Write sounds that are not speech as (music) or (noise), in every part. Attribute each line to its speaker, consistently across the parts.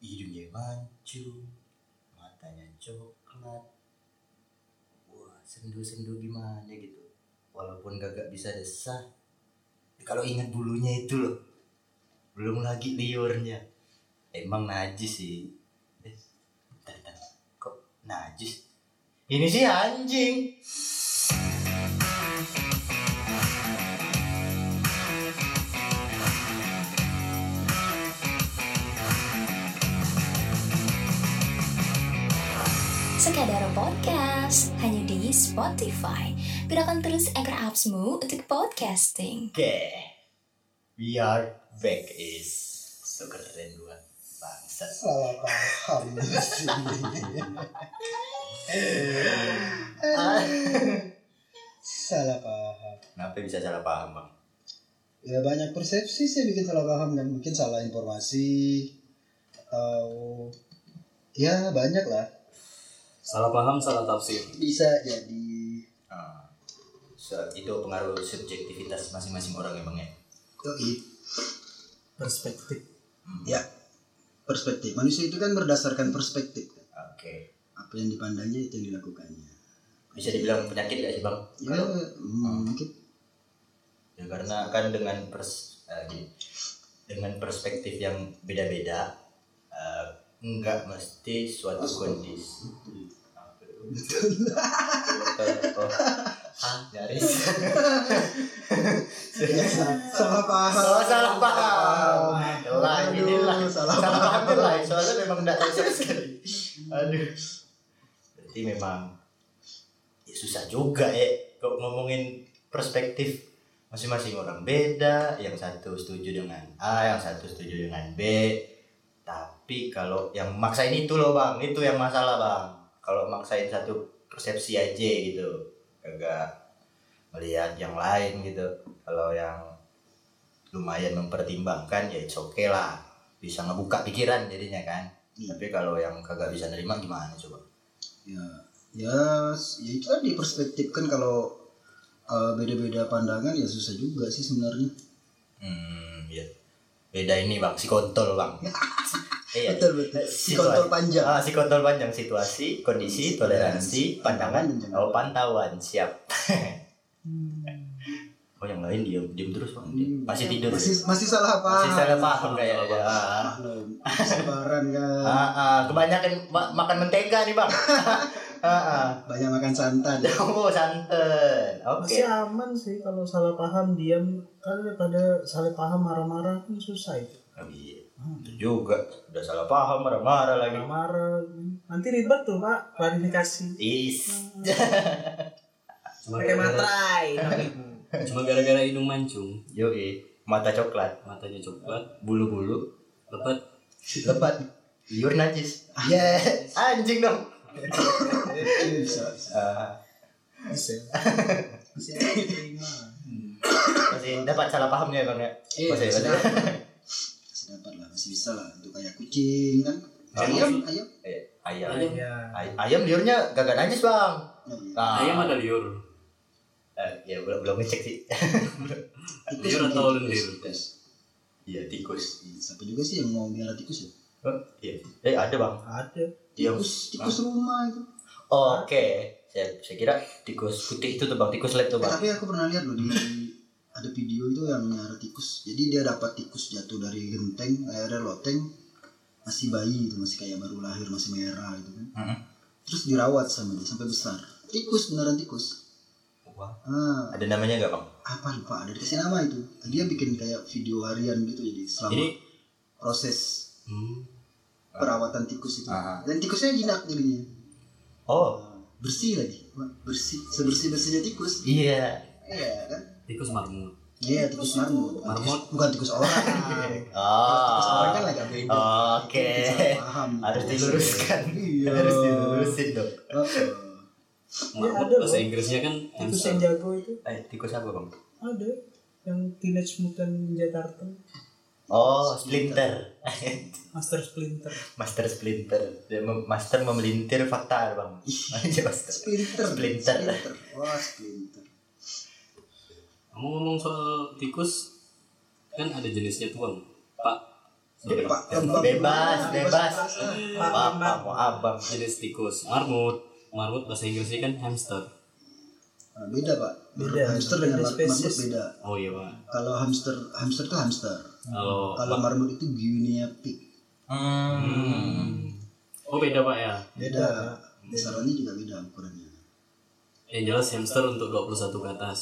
Speaker 1: hidungnya mancung matanya coklat wah sendu-sendu gimana gitu walaupun kagak bisa desah kalau ingat bulunya itu loh belum lagi liurnya emang najis sih Eh, bentar, bentar. kok najis ini sih anjing
Speaker 2: Sekadar podcast hanya di Spotify. Gunakan terus Anchor appsmu untuk podcasting.
Speaker 1: oke we are back is so keren gua bangsat
Speaker 3: salah paham salah paham
Speaker 1: kenapa bisa salah paham bang
Speaker 3: ya banyak persepsi sih bikin salah paham dan mungkin salah informasi atau ya banyak lah
Speaker 4: Salah paham, salah tafsir.
Speaker 3: bisa jadi
Speaker 1: Ah. so, itu pengaruh subjektivitas masing-masing orang ya bang ya
Speaker 3: doi
Speaker 4: Perspektif.
Speaker 3: ya perspektif manusia itu kan berdasarkan perspektif kan.
Speaker 1: oke
Speaker 3: apa yang dipandangnya itu yang dilakukannya
Speaker 1: bisa dibilang penyakit gak sih bang
Speaker 3: ya hmm, mungkin
Speaker 1: ya karena kan dengan pers eh, gini, dengan perspektif yang beda-beda eh, nggak mesti suatu kondisi betul oh. ah (laughs) nyaris
Speaker 3: Ya, salah paham
Speaker 1: salah Oh, salah paham lah
Speaker 3: Aduh,
Speaker 1: ini lah
Speaker 3: salah
Speaker 1: salah paham ini lah soalnya memang nggak tahu sama sekali aduh berarti memang ya susah juga ya kalau ngomongin perspektif masing-masing orang beda yang satu setuju dengan A yang satu setuju dengan B tapi kalau yang maksain itu loh bang itu yang masalah bang kalau maksain satu persepsi aja gitu agak melihat yang lain gitu kalau yang lumayan mempertimbangkan ya it's okay lah bisa ngebuka pikiran jadinya kan
Speaker 3: Iya.
Speaker 1: tapi kalau yang kagak bisa nerima gimana coba
Speaker 3: ya ya, s- ya itu tadi perspektif kan kalau uh, beda-beda pandangan ya susah juga sih sebenarnya
Speaker 1: hmm
Speaker 3: iya.
Speaker 1: ya beda ini bang si kontol
Speaker 3: (laughs)
Speaker 1: bang iya
Speaker 3: betul betul
Speaker 1: situasi.
Speaker 3: kontrol Eh, panjang
Speaker 1: Ah, si kontol panjang situasi kondisi toleransi pandangan oh pantauan siap oh yang lain diem diem terus bang dia masih tidur
Speaker 3: Iya. Hmm, masih masih salah paham
Speaker 1: masih salah paham kayaknya Ah.
Speaker 3: Maklum, Lebaran kan
Speaker 1: Ah, ah, kebanyakan ma- makan mentega nih bang. Ah, ah.
Speaker 3: banyak makan santan
Speaker 1: Oh santan. Oke.
Speaker 4: Masih aman sih kalau salah paham diam kan daripada salah paham marah-marah kan susah itu.
Speaker 1: Oh, iya. Itu juga udah salah paham marah-marah lagi.
Speaker 4: Marah-marah nanti ribet tuh pak klarifikasi.
Speaker 1: Is. (laughs)
Speaker 5: Cuma
Speaker 4: Pakai
Speaker 5: gara-gara,
Speaker 4: materai.
Speaker 5: cuma gara-gara hidung mancung,
Speaker 1: Yo Mata coklat,
Speaker 5: matanya coklat,
Speaker 1: bulu-bulu,
Speaker 5: lebat.
Speaker 1: lebat, liur najis. Ya, anjing dong.
Speaker 3: Iya, bisa bisa
Speaker 1: Ah,
Speaker 4: Bisa. Bisa terima.
Speaker 1: masih dapat salah pahamnya ya bang ya.
Speaker 3: Iya,
Speaker 1: Masih
Speaker 3: masih
Speaker 1: ada.
Speaker 3: masih dapat lah masih bisa lah untuk kayak kucing kan
Speaker 1: Ah.
Speaker 3: ayam
Speaker 1: Ayam.
Speaker 3: ayam
Speaker 1: (laughs) Eh, Ayam.
Speaker 5: Ayam.
Speaker 4: Ya.
Speaker 1: Ay- Ayam liurnya gagak najis bang.
Speaker 3: Nah, iya.
Speaker 4: Ah.
Speaker 1: Nah,
Speaker 5: Ayam ada liur,
Speaker 1: eh, ya belum belum ngecek sih. (laughs)
Speaker 3: Tikus
Speaker 5: liur
Speaker 3: mungkin,
Speaker 5: atau
Speaker 3: tikus,
Speaker 5: lendir.
Speaker 3: tikus.
Speaker 1: Iya tikus.
Speaker 3: Iya, siapa juga sih yang mau melihara tikus ya
Speaker 1: Oh, Iya. Eh ada bang.
Speaker 4: Ada.
Speaker 1: Iya.
Speaker 3: tikus tikus rumah itu
Speaker 1: Oke, saya, saya kira tikus putih itu tuh bang, tikus lab tuh
Speaker 3: Eh,
Speaker 1: bang.
Speaker 3: tapi aku pernah lihat loh di ada video itu yang nyara tikus. Jadi dia dapat tikus jatuh dari genteng, eh, dari loteng masih bayi itu masih kayak baru lahir masih merah gitu kan.
Speaker 1: Heeh.
Speaker 3: Terus dirawat sama dia sampai besar. Tikus beneran tikus.
Speaker 1: Wah,
Speaker 3: Ah,
Speaker 1: ada namanya nggak bang?
Speaker 3: apa lupa ada dikasih nama itu. Dia bikin kayak video harian gitu jadi selama
Speaker 1: Ini
Speaker 3: proses
Speaker 1: Hmm.
Speaker 3: perawatan tikus itu.
Speaker 1: Ah.
Speaker 3: Dan tikusnya jinak jadinya.
Speaker 1: Oh
Speaker 3: Bersih lagi. Wah, Bersih sebersih bersihnya tikus.
Speaker 1: iya.
Speaker 3: Iya kan?
Speaker 5: tikus marmut.
Speaker 3: Iya, tikus marmut. Bukan tikus-
Speaker 5: Marmut.
Speaker 3: bukan tikus orang. Terus orang kan
Speaker 1: Oh
Speaker 3: agak beda.
Speaker 1: oke.
Speaker 3: Salah Iya, paham.
Speaker 1: Harus diluruskan.
Speaker 3: Iya.
Speaker 1: Harus dilurusin dong.
Speaker 3: Oh,
Speaker 5: Marmut
Speaker 4: Iya, ada
Speaker 5: bahasa
Speaker 4: loh.
Speaker 5: Inggrisnya kan
Speaker 4: Tikus
Speaker 5: hamster.
Speaker 4: yang jago itu
Speaker 1: Eh tikus apa bang?
Speaker 4: ada yang Teenage Mutant Ninja Turtle
Speaker 1: Oh splinter.
Speaker 4: Master Splinter.
Speaker 1: Master splinter. Dia mem- Master memelintir fakta bang. (laughs) Aja master.
Speaker 3: Splinter.
Speaker 1: Splinter.
Speaker 3: Wah, splinter.
Speaker 5: Kamu ngomong soal tikus, kan ada jenisnya tuang, pak.
Speaker 3: Pak,
Speaker 1: Bebas, bebas, bebas.
Speaker 3: Ah,
Speaker 4: Abang,
Speaker 1: Bapak mau abang.
Speaker 5: jenis tikus marmut marmut bahasa Inggrisnya kan hamster
Speaker 3: Nah, beda pak.
Speaker 4: Beda,
Speaker 3: Hamster
Speaker 4: beda
Speaker 3: dengan mar- marmut
Speaker 4: spesies.
Speaker 3: beda.
Speaker 5: oh iya
Speaker 4: Hmm.
Speaker 5: pak
Speaker 3: Kalau hamster, hamster tuh hamster.
Speaker 5: kalau
Speaker 1: Oh,
Speaker 3: Kalau marmut itu Guinea pig.
Speaker 5: Hmm. oh beda pak ya
Speaker 3: Beda. Besarannya juga beda ukurannya.
Speaker 5: yang jelas hamster untuk 21 ke atas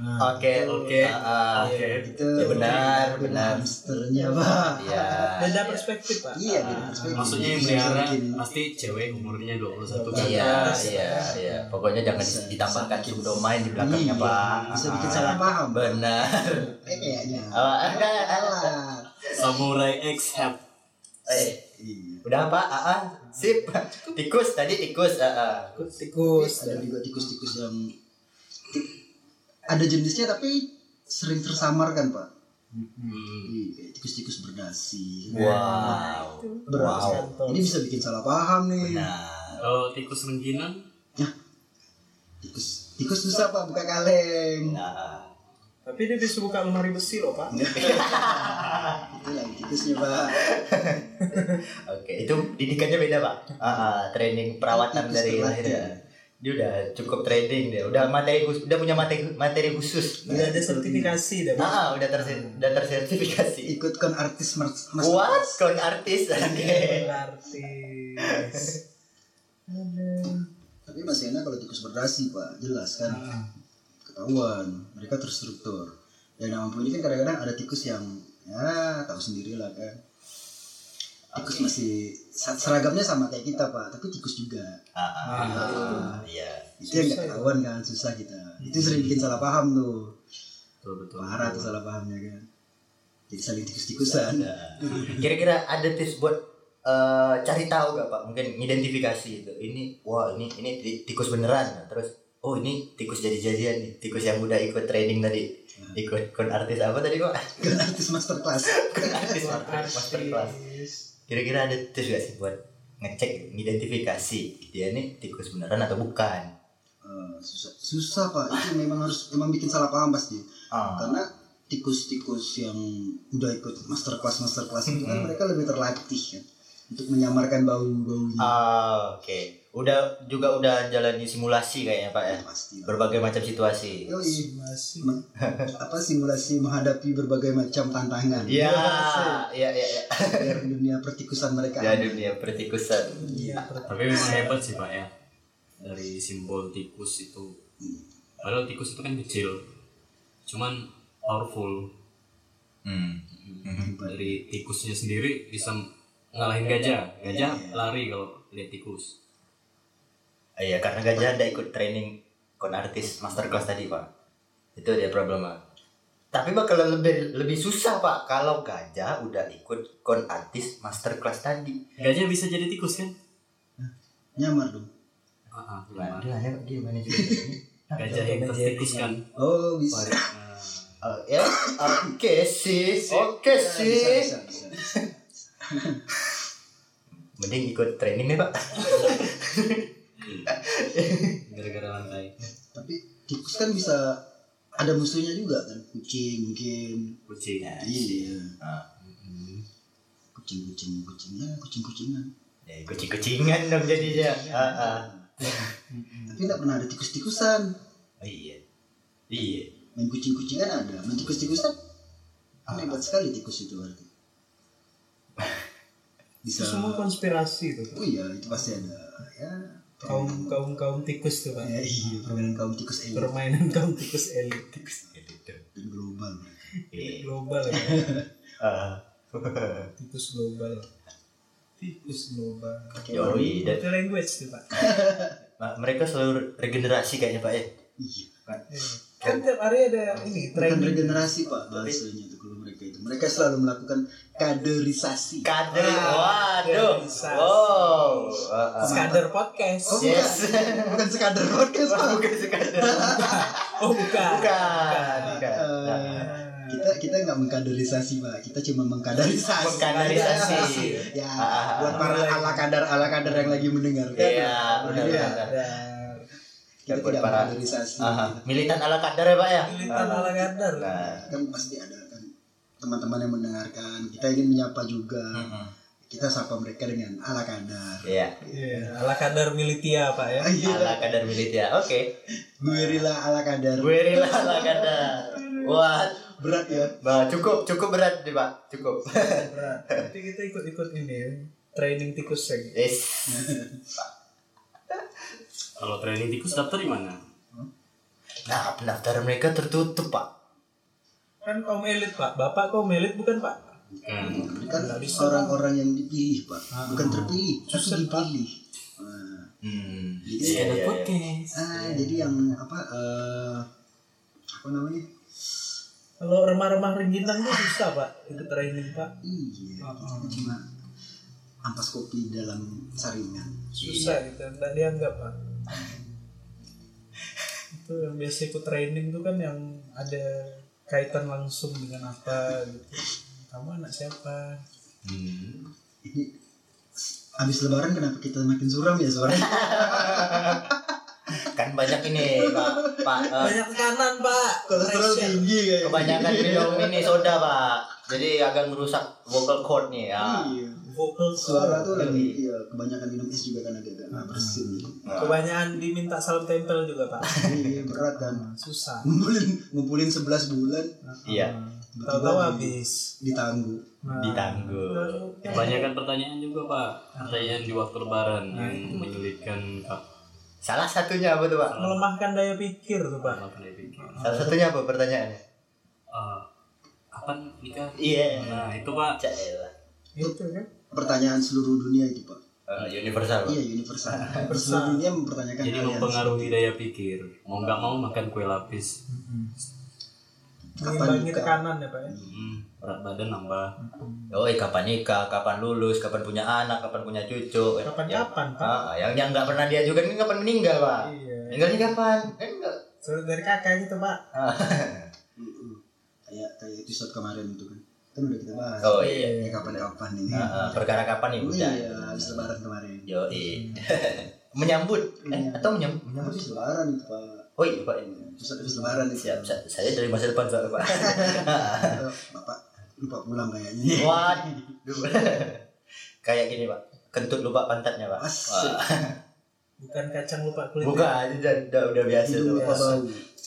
Speaker 3: Nah,
Speaker 1: Oke,
Speaker 5: Oke.
Speaker 1: Ah, ah.
Speaker 4: iya.
Speaker 3: itu
Speaker 1: Ya, benar, benar.
Speaker 3: hamsternya pak.
Speaker 1: Iya.
Speaker 4: Beda perspektif pak.
Speaker 3: Iya, beda perspektif.
Speaker 5: maksudnya yang
Speaker 3: Bisa
Speaker 5: melihara
Speaker 3: bikin
Speaker 5: pasti cewek umurnya 21 ke
Speaker 1: Iya,
Speaker 5: atas
Speaker 1: iya, iya. Pokoknya jangan
Speaker 3: Bisa-
Speaker 1: ditambahkan
Speaker 3: bisa bikin-
Speaker 1: sebelum main di belakangnya,
Speaker 3: Iya,
Speaker 1: Pak.
Speaker 3: Bisa
Speaker 1: Ah,
Speaker 3: bikin salah paham.
Speaker 1: Benar.
Speaker 3: Eh, kayaknya.
Speaker 1: Oh, ada, ada.
Speaker 3: Salah.
Speaker 5: samurai X have
Speaker 1: Eh,
Speaker 3: Iya.
Speaker 1: udah Pak, ah, ah. sip. Tikus tadi tikus, ah, ah.
Speaker 4: Tikus.
Speaker 1: Iya.
Speaker 3: Ada juga tikus-tikus yang ada jenisnya tapi sering tersamarkan pak.
Speaker 1: Hmm.
Speaker 3: Iya, kayak tikus-tikus berdasi.
Speaker 1: Wow.
Speaker 3: Berat.
Speaker 1: Wow.
Speaker 3: Ini bisa bikin salah paham nih.
Speaker 1: Benar.
Speaker 5: kalau tikus rengginang
Speaker 3: Tikus, tikus susah pak buka kaleng.
Speaker 1: Nah,
Speaker 4: Tapi dia bisa buka lemari besi loh pak.
Speaker 3: (laughs) Itu lagi tikusnya pak.
Speaker 1: Oke, itu didikannya beda pak. Ah, ah, training perawatan
Speaker 3: Tikus
Speaker 1: dari
Speaker 3: terlatih.
Speaker 1: lahir. ya. Dia udah cukup training dia. Udah materi khusus, udah punya materi materi khusus.
Speaker 4: Udah ada sertifikasi dah
Speaker 1: Iya, Ah,
Speaker 4: pak.
Speaker 1: ah, udah terse- udah tersertifikasi.
Speaker 3: Ikutkan artis mas. mas-
Speaker 1: What? Kon artis. Oke. iya. (laughs)
Speaker 4: Artis.
Speaker 3: Tapi masih enak kalau tikus berdasi pak, jelas kan? Ketahuan, mereka terstruktur. Dan yang mampu ini kan kadang-kadang ada tikus yang ya tahu sendiri lah kan. Tikus masih sa- seragamnya sama kayak kita pak, tapi tikus juga.
Speaker 1: Ah, ah, ah, iya.
Speaker 3: Itu yang nggak ketahuan kan, susah kita. Itu sering bikin salah paham tuh,
Speaker 5: betul betul
Speaker 3: parah tuh salah pahamnya kan. Jadi saling tikus-tikusan.
Speaker 1: Ah, Kira-kira ada tips buat eh, cari tahu gak pak? Mungkin identifikasi itu. Ini, wah ini ini ti- tikus beneran. Terus, oh ini tikus jadi-jadian nih. Tikus yang udah ikut training tadi. Ikut kon artis apa tadi pak?
Speaker 3: Kan artis masterclass.
Speaker 1: artis masterclass kira-kira ada tips gak sih buat ngecek identifikasi dia nih tikus beneran atau bukan
Speaker 3: Eh, susah, susah pak. Itu memang harus memang bikin salah paham pasti.
Speaker 1: ah
Speaker 3: karena tikus-tikus yang udah ikut masterclass masterclass itu kan mereka lebih terlatih kan untuk menyamarkan bau-baunya
Speaker 1: Ah, oke udah juga udah jalani simulasi kayaknya pak ya
Speaker 3: pasti lah.
Speaker 1: berbagai macam situasi
Speaker 3: Yoi.
Speaker 4: Masih.
Speaker 3: Ma- apa simulasi menghadapi berbagai macam tantangan Iya.
Speaker 1: ya ya ya ya
Speaker 3: biar dunia pertikusan mereka (laughs)
Speaker 1: ya dunia pertikusan
Speaker 4: Iya.
Speaker 5: tapi memang hebat sih pak ya dari simbol tikus itu padahal tikus itu kan kecil cuman powerful
Speaker 1: hmm.
Speaker 5: dari tikusnya sendiri bisa ngalahin gajah gajah lari kalau lihat tikus
Speaker 1: Ah, iya karena gajah ada ikut training kon artis masterclass tadi pak itu dia problema tapi bakal lebih lebih susah pak kalau gajah udah ikut kon artis masterclass tadi
Speaker 5: gajah bisa jadi tikus kan
Speaker 3: nyamar dong
Speaker 5: Ah, ah,
Speaker 1: Gimana?
Speaker 5: gimana?
Speaker 1: Dia aneh, ya, dia gimana (laughs) juga.
Speaker 5: gajah yang tertikus kan
Speaker 3: oh bisa
Speaker 1: Eh, ya, oke sih, oke
Speaker 3: bisa bisa,
Speaker 1: sih.
Speaker 3: bisa.
Speaker 1: Mending ikut training nih pak.
Speaker 5: gara-gara lantai
Speaker 3: tapi tikus kan bisa ada musuhnya juga kan kucing mungkin
Speaker 5: kucing
Speaker 3: iya
Speaker 1: Ah.
Speaker 3: kucing kucing kucingnya kucing kucingan
Speaker 1: Ya, kucing-kucingan dong jadinya. Ah, ah.
Speaker 3: tapi nggak pernah ada tikus-tikusan
Speaker 1: Oh, iya, iya.
Speaker 3: main kucing-kucingan ada main tikus-tikusan kan hebat sekali tikus itu
Speaker 4: (laughs)
Speaker 3: berarti
Speaker 4: Itu
Speaker 3: bisa
Speaker 4: semua konspirasi tuh.
Speaker 3: oh iya itu pasti ada ya
Speaker 4: Kaum kaum kaum tikus tuh pak.
Speaker 3: ya iya permainan kaum tikus elit
Speaker 4: Permainan kaum tikus elit.
Speaker 1: Gitu.
Speaker 3: dan global mereka.
Speaker 1: Iya.
Speaker 4: Global ya.
Speaker 1: Ah,
Speaker 4: Tikus global. Tikus global.
Speaker 1: Yoi, dan
Speaker 4: Itu language tuh pak.
Speaker 1: ma- mereka selalu regenerasi kayaknya pak ya.
Speaker 3: iya
Speaker 4: Kan tiap hari ada ini
Speaker 3: bukan
Speaker 4: training.
Speaker 3: regenerasi pak bahasanya itu kalau mereka itu mereka selalu melakukan kaderisasi
Speaker 1: Kader,
Speaker 4: Ah,
Speaker 1: waduh,
Speaker 4: regenerasi.
Speaker 1: wow. Ah, ah.
Speaker 4: Skader podcast.
Speaker 3: oh bukan
Speaker 1: Yes.
Speaker 3: (laughs) bukan sekadar podcast pak
Speaker 1: Bukan sekadar.
Speaker 4: Oh bukan.
Speaker 1: Bukan, bukan.
Speaker 3: Eh,
Speaker 1: Ah,
Speaker 3: kita kita nggak mengkaderisasi pak kita cuma mengkaderisasi
Speaker 1: Mengkaderisasi.
Speaker 3: ya
Speaker 1: Ah.
Speaker 3: buat para ala kadar ala kadar yang lagi mendengarkan ya,
Speaker 1: Iya, benar-benar.
Speaker 4: Ada
Speaker 3: kita
Speaker 1: buat
Speaker 3: tidak
Speaker 1: para- Ah,
Speaker 3: mengkaderisasi
Speaker 1: Aha, militan ala kadar ya pak ya.
Speaker 4: Militan ala kadar.
Speaker 1: Nah,
Speaker 3: kan pasti ada kan teman-teman yang mendengarkan kita ingin menyapa juga
Speaker 1: Ah,
Speaker 5: Heeh.
Speaker 3: kita sapa mereka dengan ala kadar
Speaker 1: Iya.
Speaker 6: Iya, ala kadar militia pak ya.
Speaker 1: Ala kadar militia. Oke.
Speaker 3: gue rela ala kadar
Speaker 1: Gue rela ala kadar. Wah,
Speaker 3: berat ya
Speaker 1: Bah, cukup cukup berat deh, Pak. Cukup. (laughs)
Speaker 4: berat.
Speaker 6: Nanti kita ikut-ikut ini ya. Training tikus seng.
Speaker 1: Yes.
Speaker 5: Kalau training tikus daftar di mana?
Speaker 1: Nah, pendaftaran mereka tertutup, Pak.
Speaker 6: Kan kaum elit pak. Bapak kaum elit bukan pak?
Speaker 5: Bukan.
Speaker 3: kan
Speaker 6: Nggak bisa.
Speaker 3: orang-orang yang dipilih pak
Speaker 1: Ah,
Speaker 3: bukan terpilih tapi dipilih Nah,
Speaker 1: Hmm.
Speaker 3: jadi
Speaker 1: Iya,
Speaker 5: Iya, iya,
Speaker 1: iya, iya.
Speaker 5: podcast.
Speaker 3: ah, jadi yang apa eh, apa namanya
Speaker 6: Kalau remah-remah rengginang tuh susah pak. Ikut training pak.
Speaker 3: iya
Speaker 1: Ah,
Speaker 3: kita kan cuma ampas kopi dalam saringan
Speaker 6: Susah gitu. Nggak dianggap pak. itu yang biasa ikut training tuh kan yang ada kaitan langsung dengan apa gitu. Kamu anak siapa?
Speaker 1: Hmm.
Speaker 3: ini habis lebaran kenapa kita makin suram ya suaranya
Speaker 1: (laughs) Kan banyak ini, Pak. Pak eh,
Speaker 6: Banyak tekanan pak. ya?
Speaker 3: kolesterol
Speaker 6: Pressure.
Speaker 3: tinggi kayak
Speaker 1: kebanyakan minum ini soda, Pak. Jadi agak merusak vocal cord nih ya.
Speaker 3: iya.
Speaker 6: Vocal
Speaker 3: suara tuh lagi iya, kebanyakan minum es juga kan agak-agak nggak
Speaker 1: Hmm.
Speaker 3: bersih
Speaker 6: Kebanyakan diminta salam tempel juga pak.
Speaker 3: iya berat dan
Speaker 6: Susah.
Speaker 3: ngumpulin ngumpulin 11 bulan
Speaker 1: Iya.
Speaker 6: Tahu-tahu habis.
Speaker 3: ditangguh
Speaker 1: Ditangguh.
Speaker 5: Kebanyakan pertanyaan juga pak. Pertanyaan di waktu lebaran yang menyulitkan kak.
Speaker 1: Salah satunya apa tuh, Pak?
Speaker 6: Nah, Melemahkan daya pikir tuh pak.
Speaker 5: Apa nih, Vicky?
Speaker 1: Salah satunya apa pertanyaannya?
Speaker 5: Eh, Kapan nikah?
Speaker 1: Iya.
Speaker 5: Nah itu pak.
Speaker 1: Cak, ya, elah.
Speaker 6: Gitu kan.
Speaker 3: pertanyaan seluruh dunia itu pak
Speaker 1: Eh, universal, Pak.
Speaker 3: iya universal seluruh dunia mempertanyakan
Speaker 5: Jadi
Speaker 3: hal Kan yang
Speaker 5: mempengaruhi daya pikir. Mau nggak mau makan kue lapis.
Speaker 3: kapan
Speaker 6: Mengimbangi
Speaker 3: nikah
Speaker 6: tekanan ya pak ya.
Speaker 5: Hmm, berat badan nambah.
Speaker 1: Oi, kapan nikah, kapan lulus, kapan punya anak, kapan punya cucu. Eh,
Speaker 6: Kapan-kapan,
Speaker 1: yang-
Speaker 6: Pak.
Speaker 1: Ah, yang yang nggak pernah dia juga ini kapan meninggal, Pak?
Speaker 6: Iya.
Speaker 1: Meninggalnya kapan? Kan nggak.
Speaker 6: Surat dari kakak gitu pak.
Speaker 1: Ah,
Speaker 3: Mm-mm. kayak kayak episode kemarin itu kan kan udah kita bahas
Speaker 1: Oh iya.
Speaker 3: ya kapan-kapan ini
Speaker 1: Ah, ah, perkara kapan ya,
Speaker 3: iya
Speaker 1: udah.
Speaker 3: habis lebaran kemarin
Speaker 1: Yo, (laughs) menyambut eh,
Speaker 6: Iya.
Speaker 1: atau menyambut menyambut
Speaker 3: habis lebaran itu pak
Speaker 1: oh iya pak ini
Speaker 3: episode habis lebaran itu
Speaker 1: siap sa- saya dari masa depan soalnya
Speaker 3: (laughs)
Speaker 1: pak
Speaker 3: Atau, bapak lupa pulang kayaknya
Speaker 1: waduh kayak gini pak kentut lupa pantatnya pak
Speaker 3: Asik.
Speaker 1: Wah.
Speaker 6: Bukan kacang lupa kulit. ya?
Speaker 1: bukan udah, udah, udah biasa
Speaker 3: itu
Speaker 1: tuh
Speaker 3: lupa
Speaker 1: Pak.
Speaker 3: bau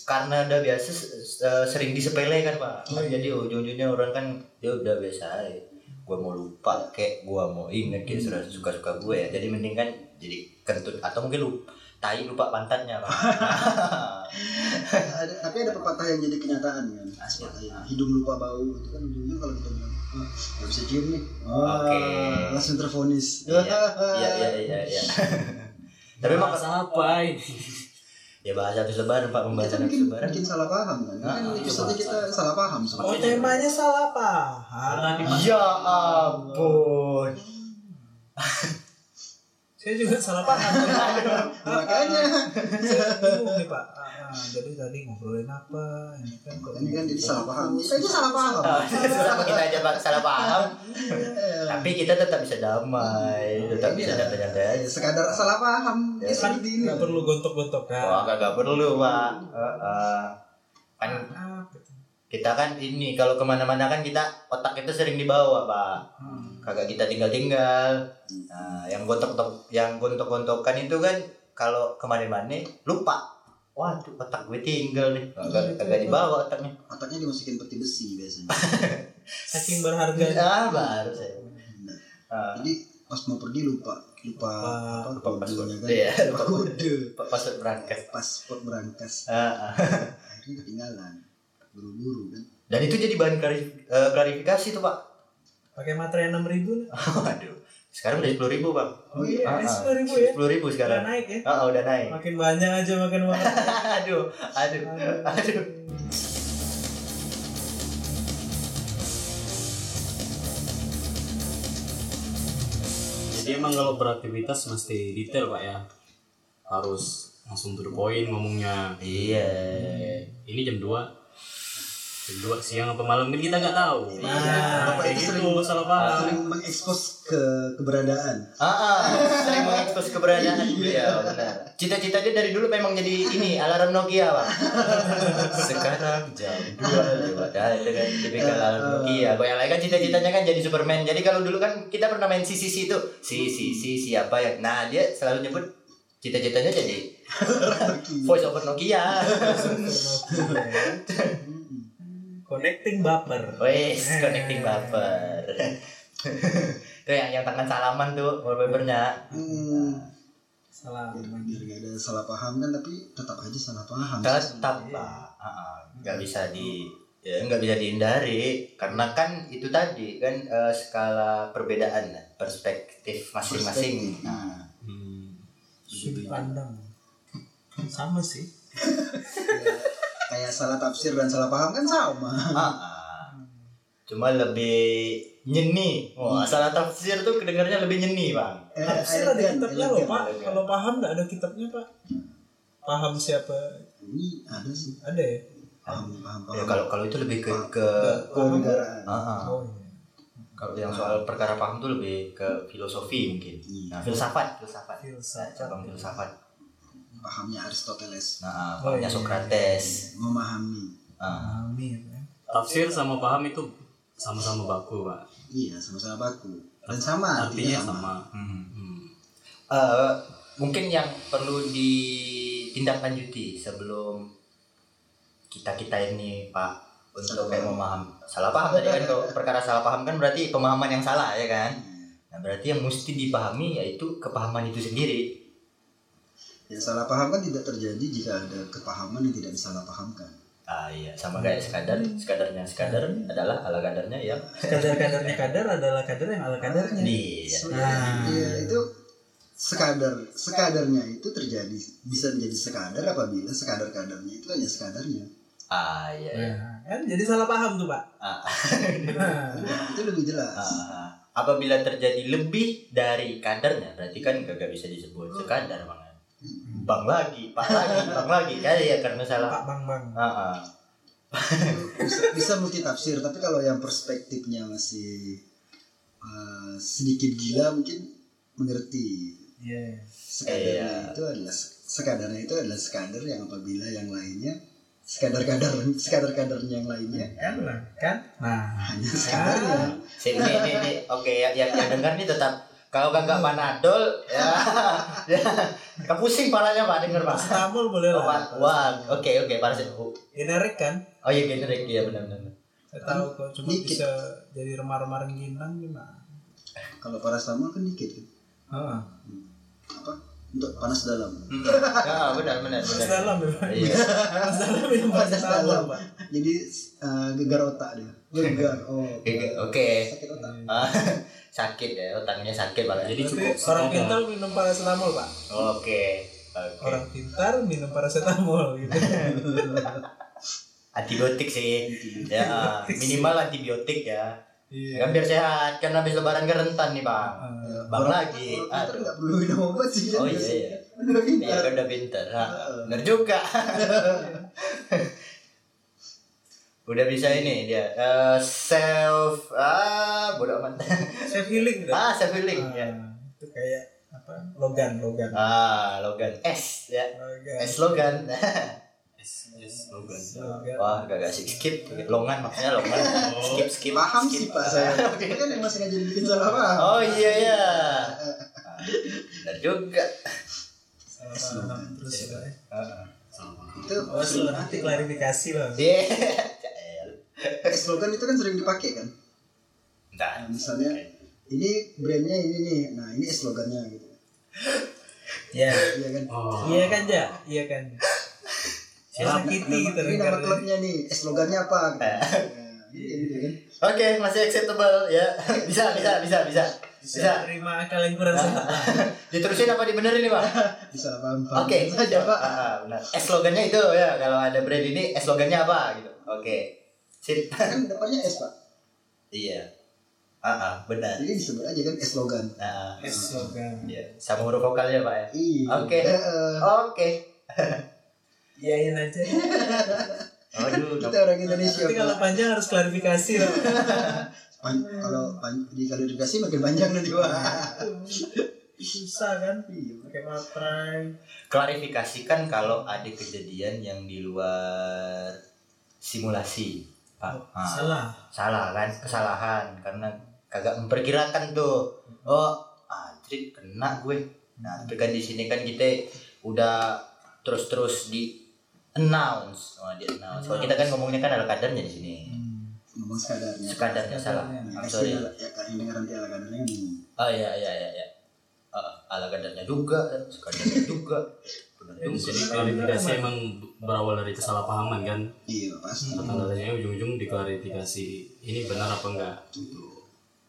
Speaker 1: karena udah biasa s- s- sering disepelekan pak jadi ujung-ujungnya orang kan ya udah biasa aja gue mau lupa kayak gue mau inget kayak sudah suka-suka gue ya jadi mending kan jadi kentut atau mungkin lu tai lupa pantatnya pak
Speaker 3: ada, tapi ada pepatah yang jadi kenyataan kan pepatah yang hidung lupa bau itu kan ujungnya kalau kita bilang "Ah, nggak bisa cium nih Ah,
Speaker 1: Oke.
Speaker 3: langsung terfonis (laughs)
Speaker 1: Iya, iya, iya, iya, iya. Tapi emang
Speaker 5: apa ini?
Speaker 1: ya bahas habis lebaran Pak,
Speaker 3: kita
Speaker 1: pembahasan habis
Speaker 3: mungkin
Speaker 1: lebaran.
Speaker 3: bikin salah paham kan kan
Speaker 1: Ah,
Speaker 3: episode kita salah paham
Speaker 1: iya.
Speaker 6: Oh
Speaker 3: soalnya
Speaker 6: temanya salah paham.
Speaker 1: Ya ampun.
Speaker 6: Saya juga salah paham.
Speaker 3: makanya (laughs)
Speaker 6: Saya bingung nih pak. Ah, ah, jadi tadi ngobrolin apa? Ini kan kok.
Speaker 3: Ini kan jadi salah paham. Kita aja salah paham.
Speaker 1: Ah, (laughs) Sama kita aja Pak, salah paham. Tapi kita tetap bisa damai, tetap bisa nyantai-nyantai aja.
Speaker 3: Eh, Sekadar salah paham.
Speaker 1: Ya,
Speaker 3: Ya, seperti ini.
Speaker 6: kan? Nggak perlu gontok-gontokan.
Speaker 1: Wah, kagak perlu Pak. Heeh. Kan
Speaker 6: Ah, gitu.
Speaker 1: kita kan ini kalau kemana-mana kan kita otak kita sering dibawa Pak. Kagak kita tinggal-tinggal. Nah, yang gontok-gontok yang gontok-gontokan itu kan kalau kemarin-mana lupa. Waduh, otak gue tinggal nih. Kagak kagak dibawa otaknya.
Speaker 3: Otaknya dimasukin peti besi biasanya.
Speaker 1: (laughs)
Speaker 6: Saking berharga.
Speaker 1: Ah, baru saya. Ah,
Speaker 3: Jadi pas mau pergi lupa lupa apa
Speaker 1: lupa
Speaker 3: kodenya
Speaker 1: password.
Speaker 3: kan.
Speaker 1: Iya,
Speaker 3: Lupa
Speaker 1: lupa
Speaker 3: kode.
Speaker 1: pas password berangkat.
Speaker 3: Paspor berangkas.
Speaker 1: Ah, ah.
Speaker 3: Akhirnya ketinggalan. Buru-buru kan.
Speaker 1: Dan itu jadi bahan klari- eh, klarifikasi tuh, Pak. (laughs)
Speaker 6: Pakai materai enam ribu.
Speaker 1: Waduh. Sekarang udah 10 ribu, Bang.
Speaker 6: Oh iya,
Speaker 1: Ah, ah.
Speaker 6: sepuluh ribu ya.
Speaker 1: 10 ribu
Speaker 6: Udah
Speaker 1: sekarang.
Speaker 6: naik ya.
Speaker 1: Ah, ah, udah naik.
Speaker 6: Makin banyak aja makin banyak.
Speaker 1: aduh, aduh, aduh.
Speaker 5: Jadi emang kalau beraktivitas mesti detail pak ya. Harus langsung to the point ngomongnya.
Speaker 1: Iya.
Speaker 5: Ini jam 2 jam dua siang apa malam kan kita nggak tahu
Speaker 3: Nah,
Speaker 5: kayak
Speaker 3: itu
Speaker 5: gitu
Speaker 3: sering-
Speaker 5: salah paham
Speaker 3: Sering mengekspos ke keberadaan.
Speaker 1: Ah, ah, sering mengekspos keberadaan beliau. Benar. Cita-citanya dari dulu memang jadi ini alarm Nokia, Pak. Sekarang jam 2 lewat Ah, itu kan tipikal alarm Nokia. Kalau yang lain kan cita-citanya kan jadi Superman. Jadi kalau dulu kan kita pernah main CCC itu, si si si siapa ya. Nah, dia selalu nyebut cita-citanya jadi
Speaker 3: Iya.
Speaker 1: voice over Nokia.
Speaker 6: Connecting baper.
Speaker 1: Wes, connecting baper. itu yang yang tangan salaman tuh wallpapernya.
Speaker 3: Hmm.
Speaker 6: Salah.
Speaker 3: biar, biar gak ada salah paham kan tapi tetap aja salah paham
Speaker 6: Iya.
Speaker 1: tetap lah ah, ah, nggak bisa di ya, nggak bisa dihindari karena kan itu tadi kan eh, skala perbedaan lah, perspektif masing-masing
Speaker 3: Perspektif.
Speaker 1: nah,
Speaker 5: Hmm.
Speaker 6: Sudut pandang. Sama sih.
Speaker 3: kayak salah tafsir dan salah paham kan sama
Speaker 1: ah, ah. cuma lebih nyeni wah salah tafsir tuh kedengarnya lebih nyeni bang
Speaker 6: Tafsir ada
Speaker 3: elegan,
Speaker 6: kitabnya loh
Speaker 3: elegan.
Speaker 6: pak. Kalau paham nggak ada kitabnya pak. Paham siapa?
Speaker 3: ini ada sih
Speaker 6: Ada ya.
Speaker 3: paham paham paham
Speaker 1: ya, kalau kalau itu lebih ke ke
Speaker 3: kenegaraan
Speaker 1: ah, ah.
Speaker 6: Oh iya.
Speaker 1: kalau yang soal perkara paham tuh lebih ke filosofi mungkin nah filsafat filsafat
Speaker 6: Iya. Filsafat.
Speaker 1: cabang filsafat
Speaker 3: pahamnya Aristoteles
Speaker 1: nah
Speaker 6: Oh,
Speaker 1: pahamnya
Speaker 6: iya.
Speaker 1: Socrates
Speaker 3: memahami
Speaker 1: ah.
Speaker 6: Amin. ya.
Speaker 5: tafsir sama paham itu sama-sama baku pak
Speaker 3: iya sama-sama baku dan Ah, iya, sama
Speaker 5: artinya sama Hmm.
Speaker 1: Eh, mungkin yang perlu ditindaklanjuti sebelum kita kita ini Pak untuk
Speaker 3: Salah
Speaker 1: kayak
Speaker 3: paham.
Speaker 1: memaham salah paham tadi kan kalau perkara salah paham kan berarti pemahaman yang salah ya kan
Speaker 3: Hmm.
Speaker 1: nah berarti yang mesti dipahami yaitu kepahaman itu sendiri
Speaker 3: yang salah paham kan tidak terjadi jika ada kepahaman yang tidak disalahpahamkan
Speaker 1: ah iya sama kayak
Speaker 3: Hmm.
Speaker 1: sekadar sekadarnya sekadar adalah ala kadarnya ya
Speaker 6: Kadar-kadarnya kadar adalah kadar yang ala kadarnya.
Speaker 1: iya
Speaker 3: So,
Speaker 6: Nah.
Speaker 3: iya, itu sekadar sekadarnya itu terjadi bisa menjadi sekadar apabila sekadar kadarnya itu hanya sekadarnya
Speaker 1: ah iya, iya.
Speaker 6: Nah, kan jadi salah paham tuh pak.
Speaker 1: Ah.
Speaker 6: Nah,
Speaker 3: itu lebih jelas
Speaker 1: Ah, apabila terjadi lebih dari kadarnya berarti kan gak, bisa disebut sekadar bang bang lagi pak lagi bang lagi kan ya karena salah
Speaker 6: Pak Bang Bang.
Speaker 1: Ah, ah.
Speaker 3: bisa, bisa multi tafsir tapi kalau yang perspektifnya masih eh, sedikit gila mungkin mengerti
Speaker 6: Iya.
Speaker 3: sekadarnya
Speaker 1: Iya.
Speaker 3: itu adalah sekadarnya itu adalah sekadar yang apabila yang lainnya sekadar kadar sekadar kadarnya yang lainnya
Speaker 1: Hmm.
Speaker 6: Kan lah, kan. Nah.
Speaker 3: hanya sekadarnya
Speaker 1: Si, ini ini ini. oke ya yang, yang dengar nih tetap kalau kagak panadol ya, (laughs) ya kepusing palanya pak denger pak
Speaker 6: Stamul boleh lah.
Speaker 1: Wah, wah, oke oke paracetamol.
Speaker 6: Generik kan?
Speaker 1: Oh iya generik iya benar-benar.
Speaker 6: Saya tahu kok cuma
Speaker 3: Dikit.
Speaker 6: bisa jadi remar-remar ginang gimana?
Speaker 3: kalau paracetamol kan dikit kan?
Speaker 6: Heeh.
Speaker 3: apa untuk panas dalam
Speaker 1: Ya benar benar
Speaker 6: Mas
Speaker 1: benar.
Speaker 6: dalam ya, Pak.
Speaker 1: Iya.
Speaker 6: Mas dalam minum
Speaker 3: Mas
Speaker 6: paracetamol,
Speaker 3: dalam.
Speaker 6: Pak.
Speaker 3: jadi eh, gegar otak dia
Speaker 1: (laughs)
Speaker 3: gegar oh
Speaker 1: Oke, Oke.
Speaker 3: sakit otak
Speaker 1: Ah, (laughs) sakit ya, otaknya sakit pak.
Speaker 5: jadi
Speaker 6: Berarti
Speaker 5: cukup
Speaker 6: orang
Speaker 5: sekadar.
Speaker 6: pintar minum paracetamol, Pak.
Speaker 1: Oke. Oke.
Speaker 6: Orang pintar minum paracetamol gitu.
Speaker 1: Antibiotik sih. ya, ah, minimal antibiotik ya.
Speaker 6: Iya.
Speaker 1: Kan biar sehat, kan habis lebaran kan rentan nih, Bang.
Speaker 6: Eh,
Speaker 1: Bang lagi.
Speaker 3: Aduh.
Speaker 1: Aduh.
Speaker 3: nggak perlu minum obat sih
Speaker 1: Oh
Speaker 3: kan?
Speaker 1: iya iya. Iya
Speaker 3: Udah pintar.
Speaker 1: kan udah pinter. Ha, bener juga. (laughs) udah bisa ini dia eh, self ah bodoh amat
Speaker 6: Self healing
Speaker 1: ah
Speaker 6: dah.
Speaker 1: self healing ya
Speaker 6: Ah, Itu kayak apa? Logan, Logan.
Speaker 1: ah logan S ya
Speaker 6: Logan.
Speaker 1: S logan (laughs)
Speaker 5: S S slogan
Speaker 6: Logan.
Speaker 1: wah gak kasih skip longan maksudnya longan skip skip
Speaker 3: paham
Speaker 1: skip.
Speaker 3: sih pak saya (laughs) Ini kan emang sengaja bikin salah paham
Speaker 1: Oh iya ya. Benar juga.
Speaker 6: Salah paham terus ya, Pak. ya.
Speaker 3: itu ya.
Speaker 6: Oh, sudah nanti klarifikasi lah.
Speaker 1: Iya.
Speaker 3: slogan itu kan sering dipakai kan
Speaker 1: Entar.
Speaker 3: Nah, misalnya ini brandnya ini nih nah ini slogannya gitu
Speaker 6: Iya.
Speaker 3: iya kan
Speaker 5: oh
Speaker 6: Iya kan, Ja? Iya kan.
Speaker 5: Siap.
Speaker 6: Sakiti
Speaker 3: Nama-
Speaker 6: gitu
Speaker 3: Nah, ini nama
Speaker 6: Ricardo.
Speaker 3: klubnya nih eh, slogannya
Speaker 1: (laughs)
Speaker 3: apa gitu. Nah, iya, gitu kan.
Speaker 1: Oke, masih acceptable ya. Bisa, bisa, bisa, bisa. Bisa.
Speaker 6: Bisa terima akal yang
Speaker 1: Ya.
Speaker 6: kurang sehat. Pak.
Speaker 1: Diterusin apa dibenerin nih, Pak?
Speaker 3: bisa paham paham
Speaker 1: Oke.
Speaker 3: saja pak
Speaker 1: Ah, ah, benar. Eh, slogannya itu ya, kalau ada brand ini eh, slogannya apa gitu. Oke. Sip.
Speaker 3: kan depannya S pak
Speaker 1: (laughs) Iya. Ah, ah, benar.
Speaker 3: jadi disebut aja kan S slogan
Speaker 1: Nah,
Speaker 6: Es slogan.
Speaker 1: iya. Sama huruf vokalnya, Pak ya.
Speaker 3: iya
Speaker 1: Oke.
Speaker 3: Eh, eh.
Speaker 6: Iya,
Speaker 1: Oke.
Speaker 6: Iyain aja.
Speaker 1: Aduh,
Speaker 3: kita
Speaker 1: dap-
Speaker 3: orang Indonesia
Speaker 6: Nanti kalau
Speaker 3: Pak.
Speaker 6: panjang harus klarifikasi lah.
Speaker 3: Pan- kalau pan- diklarifikasi makin panjang nanti wah
Speaker 1: Iya.
Speaker 6: Susah kan? Pakai materai.
Speaker 1: klarifikasikan kalau ada kejadian yang di luar simulasi. Pak. Ah.
Speaker 6: Oh, Salah.
Speaker 1: salah kan kesalahan karena kagak memperkirakan tuh oh anjrit kena gue nah tapi kan di sini kan kita udah terus terus di announce oh di announce kalau kita kan ngomongnya kan ala kadarnya di sini
Speaker 3: ngomong sekadarnya
Speaker 1: sekadarnya salah
Speaker 3: Nah,
Speaker 1: I'm
Speaker 3: pasti
Speaker 1: sorry
Speaker 3: ala- ya kan yang dengar nanti ala kadarnya gini
Speaker 1: oh iya iya iya ya. ala kadarnya juga sekadarnya juga benar
Speaker 5: Di
Speaker 1: juga
Speaker 5: sini klarifikasi emang berawal dari kesalahpahaman kan.
Speaker 3: iya pasti
Speaker 5: Tanda-tandanya ujung-ujung diklarifikasi ini benar apa enggak.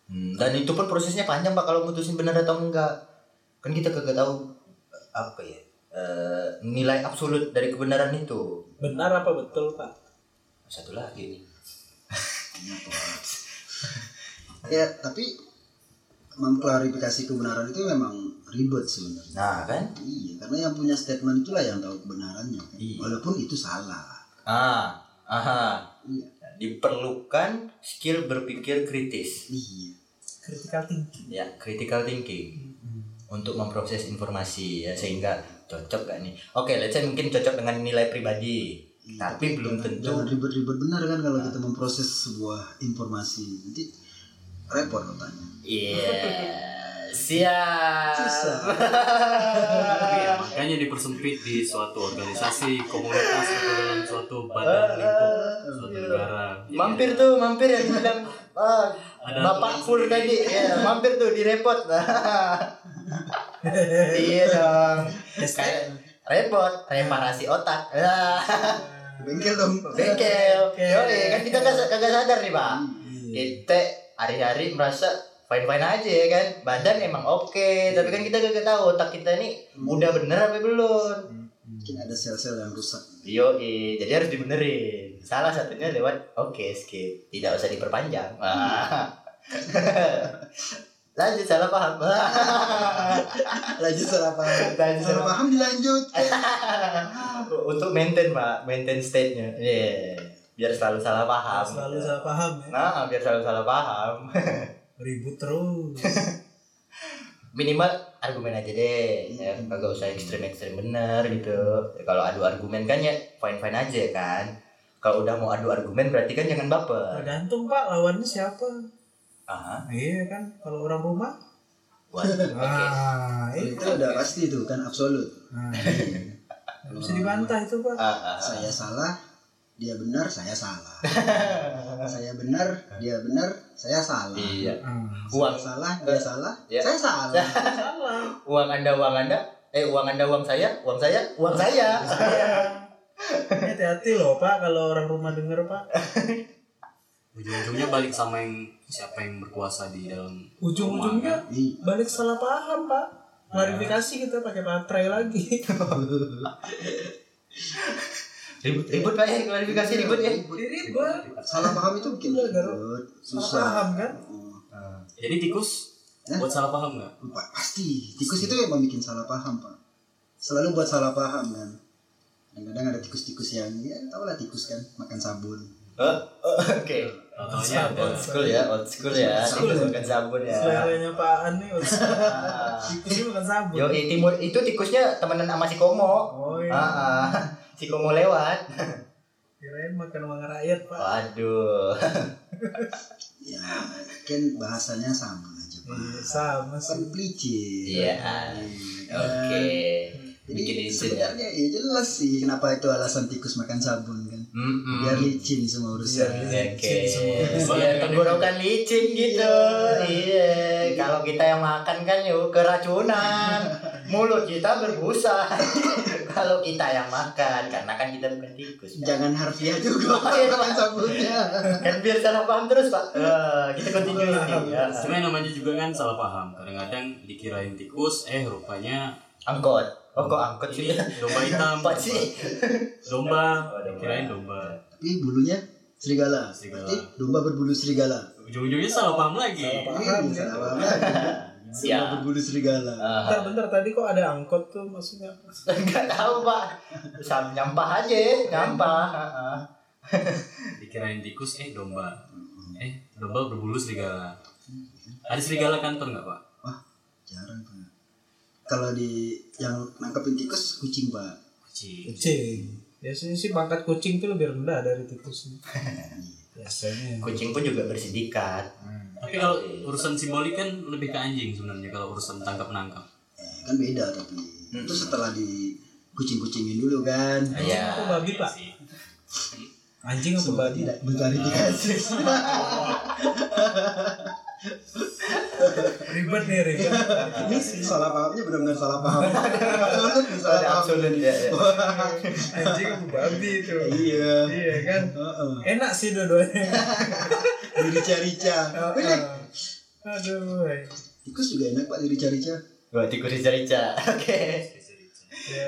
Speaker 1: Hmm, dan itu pun prosesnya panjang pak kalau mutusin benar atau enggak kan kita kagak tahu eh, apa ya eh, nilai absolut dari kebenaran itu
Speaker 6: Benar apa betul pak?
Speaker 1: satu lagi nih
Speaker 3: ya tapi mengklarifikasi kebenaran itu memang ribet sebenarnya
Speaker 1: nah kan
Speaker 3: iya karena yang punya statement itulah yang tahu kebenarannya kan.
Speaker 1: Iya.
Speaker 3: walaupun itu salah
Speaker 1: ah aha
Speaker 3: Iya.
Speaker 1: diperlukan skill berpikir kritis
Speaker 3: iya
Speaker 6: Critical thinking.
Speaker 1: ya critical thinking
Speaker 3: Hmm.
Speaker 1: untuk memproses informasi ya sehingga cocok gak nih oke let's say mungkin cocok dengan nilai pribadi
Speaker 3: Iya,
Speaker 1: tapi belum
Speaker 3: jangan-
Speaker 1: tentu Ah.
Speaker 3: jangan ribet-ribet benar kan kalau kita memproses sebuah informasi nanti repot otaknya
Speaker 1: Iya, siap. (laughs) Iya.
Speaker 3: Susah.
Speaker 5: Ya, makanya dipersempit di suatu organisasi, komunitas atau dalam suatu badan lingkup suatu negara. Jadi
Speaker 1: Iya. mampir
Speaker 5: ada-
Speaker 1: tuh, mampir yang bilang ah,
Speaker 5: Ada
Speaker 1: Bapak
Speaker 5: aturan
Speaker 1: full
Speaker 5: sendiri.
Speaker 1: tadi, ya, mampir tuh di repot. (laughs) iya dong. Kayak repot, reparasi otak. Lah,
Speaker 3: bengkel dong
Speaker 1: Bengkel. Yoi, kan kita kagak kagak sadar nih, Pak.
Speaker 3: Iya.
Speaker 6: Iya.
Speaker 1: Kita hari-hari merasa fine-fine aja ya kan. Badan emang oke, tapi kan kita kagak tahu otak kita ini udah bener apa belum.
Speaker 3: mungkin ada sel-sel yang rusak
Speaker 1: Yo, jadi harus dibenerin. Salah satunya lewat oke skip, tidak usah diperpanjang. (laughs) Wah. Lanjut salah paham.
Speaker 3: (laughs) lanjut salah paham
Speaker 1: (laughs) Lanjut
Speaker 3: salah
Speaker 1: salah paham.
Speaker 3: paham dilanjut
Speaker 6: Eh,
Speaker 3: (laughs)
Speaker 1: Untuk maintain pak, maintain state-nya. Iya. Biar selalu salah paham.
Speaker 6: Selalu salah paham ya.
Speaker 1: Nah, biar selalu salah paham. (laughs)
Speaker 6: Ribut terus.
Speaker 1: Minimal argumen aja deh. Ya, kagak usah ekstrim-ekstrim bener gitu. Ya, Kalau adu argumen kan ya fine-fine aja kan. Kalau udah mau adu argumen berarti kan jangan baper.
Speaker 6: Tergantung pak lawannya siapa.
Speaker 1: Ah,
Speaker 6: Iya kan kalau orang rumah.
Speaker 1: buat. Oke.
Speaker 6: Nah, iya.
Speaker 3: itu udah pasti itu kan absolut
Speaker 6: Nah, nggak bisa dibantah itu pak.
Speaker 1: Ah, ah, ah.
Speaker 3: saya salah dia benar saya
Speaker 6: (laughs)
Speaker 3: salah saya benar dia benar saya salah
Speaker 1: Iya.
Speaker 6: Ah,
Speaker 1: Uang
Speaker 3: Saya salah dia salah
Speaker 6: Iya.
Speaker 1: Ya.
Speaker 3: saya salah
Speaker 6: salah.
Speaker 1: uang Anda uang Anda eh uang Anda uang saya, uang saya, uang saya.
Speaker 6: Ini Hati-hati loh pak kalau orang rumah denger pak.
Speaker 5: ujung-ujungnya balik sama yang siapa yang berkuasa di dalam rumah,
Speaker 6: Ujung-ujungnya
Speaker 3: Iya.
Speaker 6: balik salah paham pak. Klarifikasi kita pakai baterai
Speaker 1: (laughs)
Speaker 6: lagi.
Speaker 1: Ribut ribut Pak ya klarifikasi ribut ya.
Speaker 6: Ribut.
Speaker 3: salah paham itu bikin
Speaker 6: Iya, Garo.
Speaker 3: ribut
Speaker 6: Salah
Speaker 3: susah
Speaker 6: paham kan?
Speaker 3: Oh,
Speaker 5: kan. jadi tikus
Speaker 3: Hah?
Speaker 5: buat salah paham nggak
Speaker 3: Oh, Pak, pasti tikus itu memang bikin salah paham pak selalu buat salah paham kan kadang-kadang ada tikus-tikus yang ya tau lah tikus kan makan sabun
Speaker 1: Eh, eh, Oke.
Speaker 5: Contohnya ada
Speaker 1: Old school ya, old school ya. Tikus bukan sabun ya.
Speaker 6: Seleranya Pak An nih
Speaker 1: (laughs)
Speaker 6: udah.
Speaker 1: Ah.
Speaker 6: Tikusnya bukan sabun.
Speaker 1: Yo, eh, timur itu tikusnya temenan sama si Komo.
Speaker 6: Oh
Speaker 1: Ah,
Speaker 6: iya.
Speaker 1: ah. si Komo lewat.
Speaker 6: Kirain makan uang rakyat Pak.
Speaker 1: Waduh.
Speaker 3: ya kan bahasanya sama aja
Speaker 6: Iya,
Speaker 3: pak
Speaker 6: sama
Speaker 3: kan
Speaker 6: sih.
Speaker 3: pelicin
Speaker 1: Iya.
Speaker 3: kan?
Speaker 1: Oke. Bikin izin
Speaker 3: Jadi
Speaker 1: ya.
Speaker 3: sebenarnya ya jelas sih kenapa itu alasan tikus makan sabun kan.
Speaker 1: Mm-mm.
Speaker 3: Biar licin semua
Speaker 1: Iya,
Speaker 3: urusan.
Speaker 1: Oke.
Speaker 5: semua.
Speaker 1: Ya, tenggorokan licin gitu. Iya. Kalau kita yang makan kan yuk keracunan. Mulut kita berbusa. (laughs) Kalau kita yang makan karena kan kita bukan tikus. Kan,
Speaker 3: Jangan harfiah juga (laughs)
Speaker 1: Oh, iya,
Speaker 3: makan
Speaker 1: Pak.
Speaker 3: sabunnya.
Speaker 1: Kan biar salah paham terus, Pak. Eh, kita continue ini ya.
Speaker 5: sebenarnya namanya juga kan salah paham kadang-kadang dikirain tikus eh rupanya
Speaker 1: Angkot. Oh, kok angkot sih?
Speaker 5: ini domba Iya, hitam
Speaker 1: Apa sih?
Speaker 5: domba
Speaker 1: Oh, domba.
Speaker 5: dikirain domba
Speaker 3: Tapi bulunya serigala.
Speaker 5: Serigala.
Speaker 3: Berarti domba berbulu serigala.
Speaker 5: ujung-ujungnya salah paham lagi
Speaker 3: Iya, salah paham. kan?
Speaker 1: (laughs)
Speaker 3: Domba
Speaker 1: Siap.
Speaker 3: berbulu serigala.
Speaker 1: Eh,
Speaker 6: Bentar, bentar tadi kok ada angkot tuh maksudnya.
Speaker 1: Enggak tahu, Pak. Sam nyampah aja, nyampah. Heeh.
Speaker 5: dikirain tikus eh domba eh domba berbulu serigala ada serigala kantor nggak pak
Speaker 3: Wah, jarang pak. Kalau di yang nangkepin tikus kucing pak.
Speaker 5: kucing
Speaker 6: Kucing. Biasanya sih pangkat kucing tuh lebih rendah dari tikus. (laughs) Biasanya.
Speaker 1: Kucing pun juga bersindikat.
Speaker 5: tapi kalau urusan simbolik kan lebih ke anjing sebenarnya kalau urusan tangkap menangkap
Speaker 3: Eh, kan beda tapi
Speaker 6: Hmm.
Speaker 3: itu setelah di kucing-kucingin dulu kan.
Speaker 6: Anjing
Speaker 1: Ya, Iya.
Speaker 6: apa babi pak?
Speaker 5: iya
Speaker 6: Anjing apa
Speaker 3: Coba
Speaker 6: babi?
Speaker 3: tidak
Speaker 6: Iya.
Speaker 3: berklarifikasi.
Speaker 6: Ribet nih ribet.
Speaker 3: Ini salah pahamnya benar-benar salah
Speaker 6: (laughs)
Speaker 3: paham. Absolut salah
Speaker 1: Ada
Speaker 3: paham.
Speaker 1: absolut ya. ya.
Speaker 6: Anjing apa babi itu?
Speaker 3: Iya.
Speaker 6: Iya kan.
Speaker 3: Heeh.
Speaker 6: Enak sih (laughs) dua-duanya. Iya.
Speaker 3: Di rica-rica. Wih,
Speaker 6: Aduh. iya. woy.
Speaker 3: Tikus juga enak pak di rica-rica.
Speaker 1: Buat tikus rica-rica. (laughs) Oke.
Speaker 6: Ya,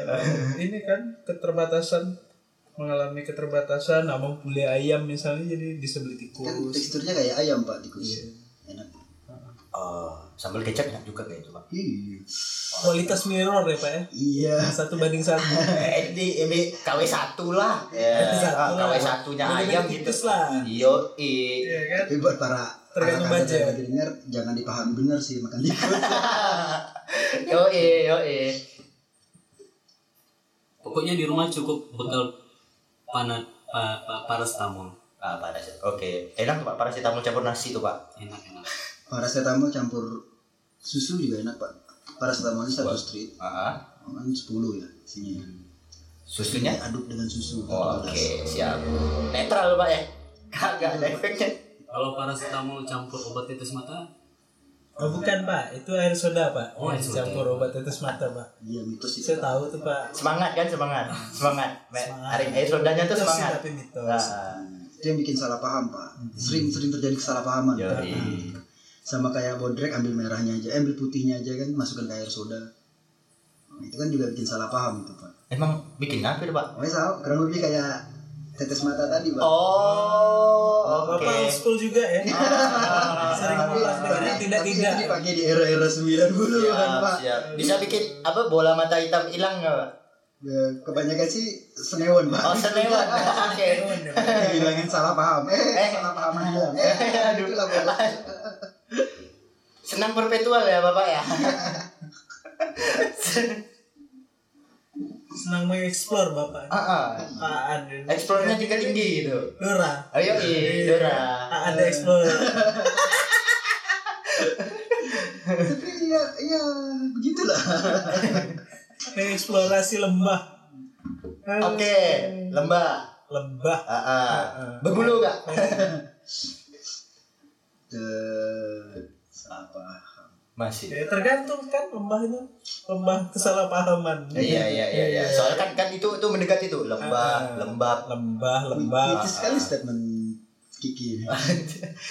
Speaker 6: ini kan keterbatasan mengalami keterbatasan abang bule ayam misalnya jadi bisa beli
Speaker 3: Kan
Speaker 6: tikus Iya.
Speaker 3: teksturnya kayak ayam pak tikus. Enak.
Speaker 1: Oh, sambal kecap enak juga kayak itu, Pak.
Speaker 3: Iya.
Speaker 6: kualitas mirror ya pak ya
Speaker 3: Iya.
Speaker 6: satu banding satu
Speaker 1: (laughs) Eh, ini ini KW 1 lah. Ya,
Speaker 6: Satu
Speaker 1: ah, KW
Speaker 6: lah.
Speaker 1: 1-nya
Speaker 6: Mendingan
Speaker 1: ayam gitu.
Speaker 6: tikus lah.
Speaker 1: Yo, i.
Speaker 6: Iya kan
Speaker 3: Tapi buat para
Speaker 6: Tergantung
Speaker 3: anak-anak yang
Speaker 6: budget.
Speaker 3: lagi dengar jangan dipahami benar sih makan tikus. (laughs)
Speaker 1: Yo, i, yo, i.
Speaker 5: pokoknya di rumah cukup bekal panat pa, pa, paracetamol
Speaker 1: Ah, parasit. Oke. Enak tuh, Pak parasetamol campur nasi tuh, Pak.
Speaker 5: enak enak
Speaker 3: paracetamol campur susu juga enak pak paracetamolnya satu strip
Speaker 1: Heeh.
Speaker 3: kan sepuluh ya isinya
Speaker 1: Susunya
Speaker 3: aduk dengan susu
Speaker 1: Oh, Oke,
Speaker 3: satu gelas.
Speaker 1: siap. Netral Pak ya. Kagak ada efeknya.
Speaker 5: kalau paracetamol campur obat tetes mata
Speaker 6: oh, bukan pak itu air soda pak
Speaker 5: Oh, air soda.
Speaker 6: campur obat tetes mata pak
Speaker 3: iya mitos itu
Speaker 6: saya tahu tuh pak
Speaker 1: Semangat kan semangat. Semangat. Me-
Speaker 6: Semangat.
Speaker 1: Hari eh sodanya tuh
Speaker 6: Mitos sih,
Speaker 1: semangat.
Speaker 6: tapi mitos.
Speaker 1: Nah,
Speaker 3: itu yang bikin salah paham pak
Speaker 1: Hmm.
Speaker 3: sering-sering terjadi kesalahpahaman
Speaker 1: Yoi.
Speaker 3: Nah, sama kayak bodrek ambil merahnya aja eh, ambil putihnya aja kan masukkan ke air soda Nah, itu kan juga bikin salah paham itu pak
Speaker 1: emang bikin apa itu, Pak?
Speaker 3: makanya sama kurang lebih kayak tetes mata tadi pak
Speaker 1: Oh, oke.
Speaker 6: bapak old school juga
Speaker 1: (laughs)
Speaker 6: ya sering ngulas dengan tidak
Speaker 3: tapi
Speaker 6: tidak
Speaker 3: itu dipakai di era-era 90 an
Speaker 1: Siap,
Speaker 3: pak
Speaker 1: Iya, siap. Bisa bikin apa bola mata hitam hilang nggak, Pak?
Speaker 3: Ya, kebanyakan sih senewon pak
Speaker 1: (laughs) Oh,
Speaker 3: (laughs)
Speaker 1: senewan. Oke.
Speaker 3: bilangin salah paham eh, salah paham aja eh, aduh lah bola
Speaker 1: Senang perpetual ya, Bapak ya.
Speaker 6: senang mengeksplor bapak
Speaker 1: (laughs) Heeh.
Speaker 6: apaan
Speaker 1: Explore-nya juga tinggi itu.
Speaker 6: Dora
Speaker 1: Ayo, i, Dora.
Speaker 6: Ah, ada explore
Speaker 3: tapi ya ya begitulah
Speaker 6: eksplorasi lembah
Speaker 1: Oke, lembah.
Speaker 6: lembah
Speaker 1: Ah, ah. Berbulu nggak?
Speaker 3: Eh, salah paham
Speaker 1: Masih.
Speaker 6: Ya, tergantung kan lembah itu lembah kesalahpahaman
Speaker 1: Iya iya iya iya. Soalnya kan kan itu itu mendekati tuh lembah,
Speaker 6: Ah.
Speaker 1: lembab.
Speaker 6: lembah lembah
Speaker 3: itu sekali statement Kiki
Speaker 1: (laughs)
Speaker 3: ini.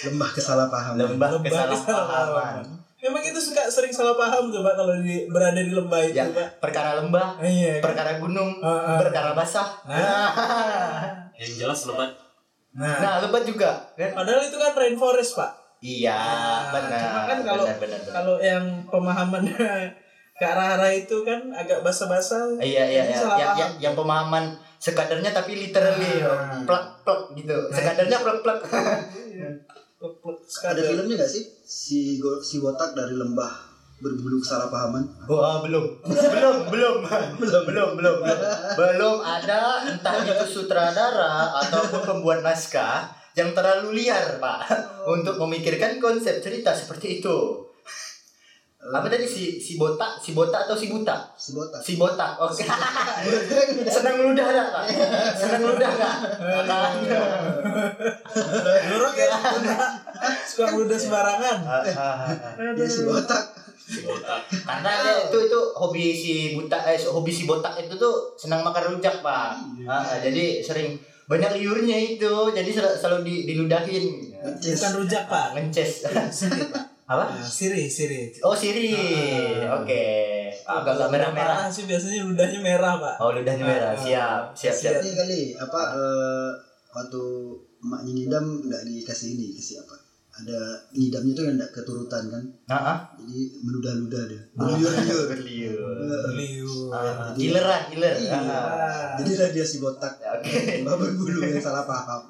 Speaker 3: lembah kesalahpahaman
Speaker 1: Lembah
Speaker 6: lembah
Speaker 1: kesalahpahaman.
Speaker 6: kesalahpahaman memang itu suka sering salah paham tuh pak kalau di, berada di lembah itu
Speaker 1: Ya,
Speaker 6: pak
Speaker 1: perkara lembah,
Speaker 6: Ah, iya kan?
Speaker 1: perkara gunung,
Speaker 6: Ah, ah.
Speaker 1: perkara basah. Nah,
Speaker 5: yang jelas lebat
Speaker 6: nah,
Speaker 1: (laughs) nah lebat juga kan?
Speaker 6: padahal itu kan rainforest pak
Speaker 1: Iya, benar.
Speaker 6: cuma kan kalau
Speaker 1: benar, benar, benar.
Speaker 6: kalau yang pemahamannya (laughs) ke arah-arah itu kan agak basa-basa
Speaker 1: Iya iya
Speaker 6: Jadi
Speaker 1: iya. Yang,
Speaker 6: salah paham.
Speaker 1: yang, yang pemahaman sekadarnya tapi literally
Speaker 6: Ah.
Speaker 1: plak plak gitu. Sekadarnya plak plak.
Speaker 6: Plek-plek
Speaker 3: ada
Speaker 6: sekadar.
Speaker 3: filmnya gak sih si go, si botak dari lembah berbulu kesalahpahaman
Speaker 1: Wah ah, belum (laughs) belum belum (laughs) belum belum belum belum belum ada entah itu sutradara ataupun pembuat naskah yang terlalu liar pak
Speaker 6: Oh.
Speaker 1: untuk memikirkan konsep cerita seperti itu. Apa tadi si si botak si botak atau si buta
Speaker 3: Eh, si botak
Speaker 1: si botak oke
Speaker 6: (laughs)
Speaker 1: senang ludah nggak pak senang ludah nggak
Speaker 6: Jorok
Speaker 1: (laughs)
Speaker 6: ya Pak. suka
Speaker 1: Iya.
Speaker 6: udah sembarangan
Speaker 3: dia Iya, si botak
Speaker 1: karena dia itu itu hobi si buta eh hobi si botak itu tuh senang makan rujak pak
Speaker 6: Iya.
Speaker 1: Ah, ah, jadi sering banyak liurnya itu jadi sel- selalu di, diludahin
Speaker 3: Yes.
Speaker 6: bukan rujak pak
Speaker 1: Iya, ngences
Speaker 6: Siri, Iya, Pak.
Speaker 1: apa
Speaker 6: Ah, siri siri
Speaker 1: oh siri
Speaker 6: Ah.
Speaker 1: oke agak-agak merah-merah
Speaker 6: Parah sih biasanya ludahnya merah pak
Speaker 1: oh ludahnya merah
Speaker 6: Ah.
Speaker 1: siap siap siap
Speaker 3: ini kali apa eh, waktu emaknya ngidam nggak dikasih ini kasih apa ada ngidamnya tuh yang nggak keturutan kan
Speaker 1: Nah, ah.
Speaker 3: jadi meludah-ludah dia
Speaker 1: (laughs) berliur berliur.
Speaker 6: Liu.
Speaker 1: Ah, Killer lah, killer.
Speaker 3: Iya.
Speaker 1: Ah.
Speaker 3: jadi radiasi botak
Speaker 1: Ya, Oke.
Speaker 3: babak bulu yang salah paham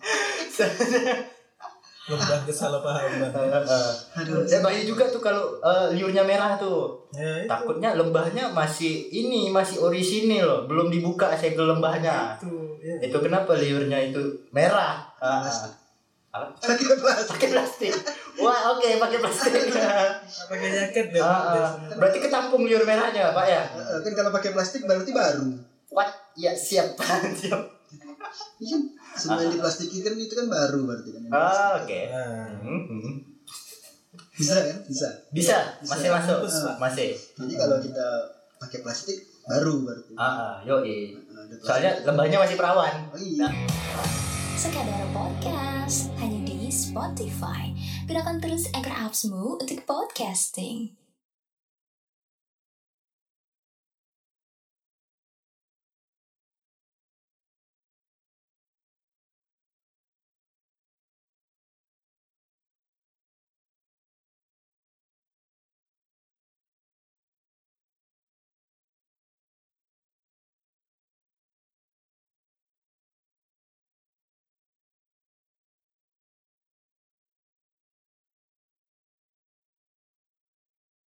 Speaker 6: Lembah kesalahpahaman.
Speaker 1: (laughs) Ah,
Speaker 3: aduh
Speaker 1: Saya bahaya juga tuh kalau eh, liurnya merah tuh.
Speaker 6: Ya, itu.
Speaker 1: Takutnya lembahnya masih ini masih orisinil loh, belum dibuka segel lembahnya.
Speaker 6: Itu, ya.
Speaker 1: Itu kenapa liurnya itu merah? Ah,
Speaker 3: Plastik.
Speaker 1: Apa?
Speaker 3: sakit kelas
Speaker 1: Pakai plastik. Wah, oke pakai (laughs) plastik. Iya,
Speaker 6: Pakai jaket deh.
Speaker 1: Ah, ah. Berarti ketampung liur merahnya, Pak ya?
Speaker 3: kan kalau pakai plastik berarti baru
Speaker 1: What? Ya siap, (laughs) siap.
Speaker 3: Iya kan semua yang diplastikin kan itu kan baru berarti kan
Speaker 1: Ah, oke.
Speaker 6: Nah,
Speaker 1: Hmm.
Speaker 3: bisa kan bisa
Speaker 1: Bisa, masih masuk,
Speaker 6: Mampus, Pak.
Speaker 1: masih.
Speaker 3: jadi kalau kita pakai plastik baru berarti
Speaker 1: Ah, yo yoi.
Speaker 3: Ada plastik.
Speaker 1: Soalnya lembahnya masih perawan.
Speaker 3: oh, iya
Speaker 2: Sekadar podcast hanya di Spotify. Gunakan terus anchor appsmu untuk podcasting.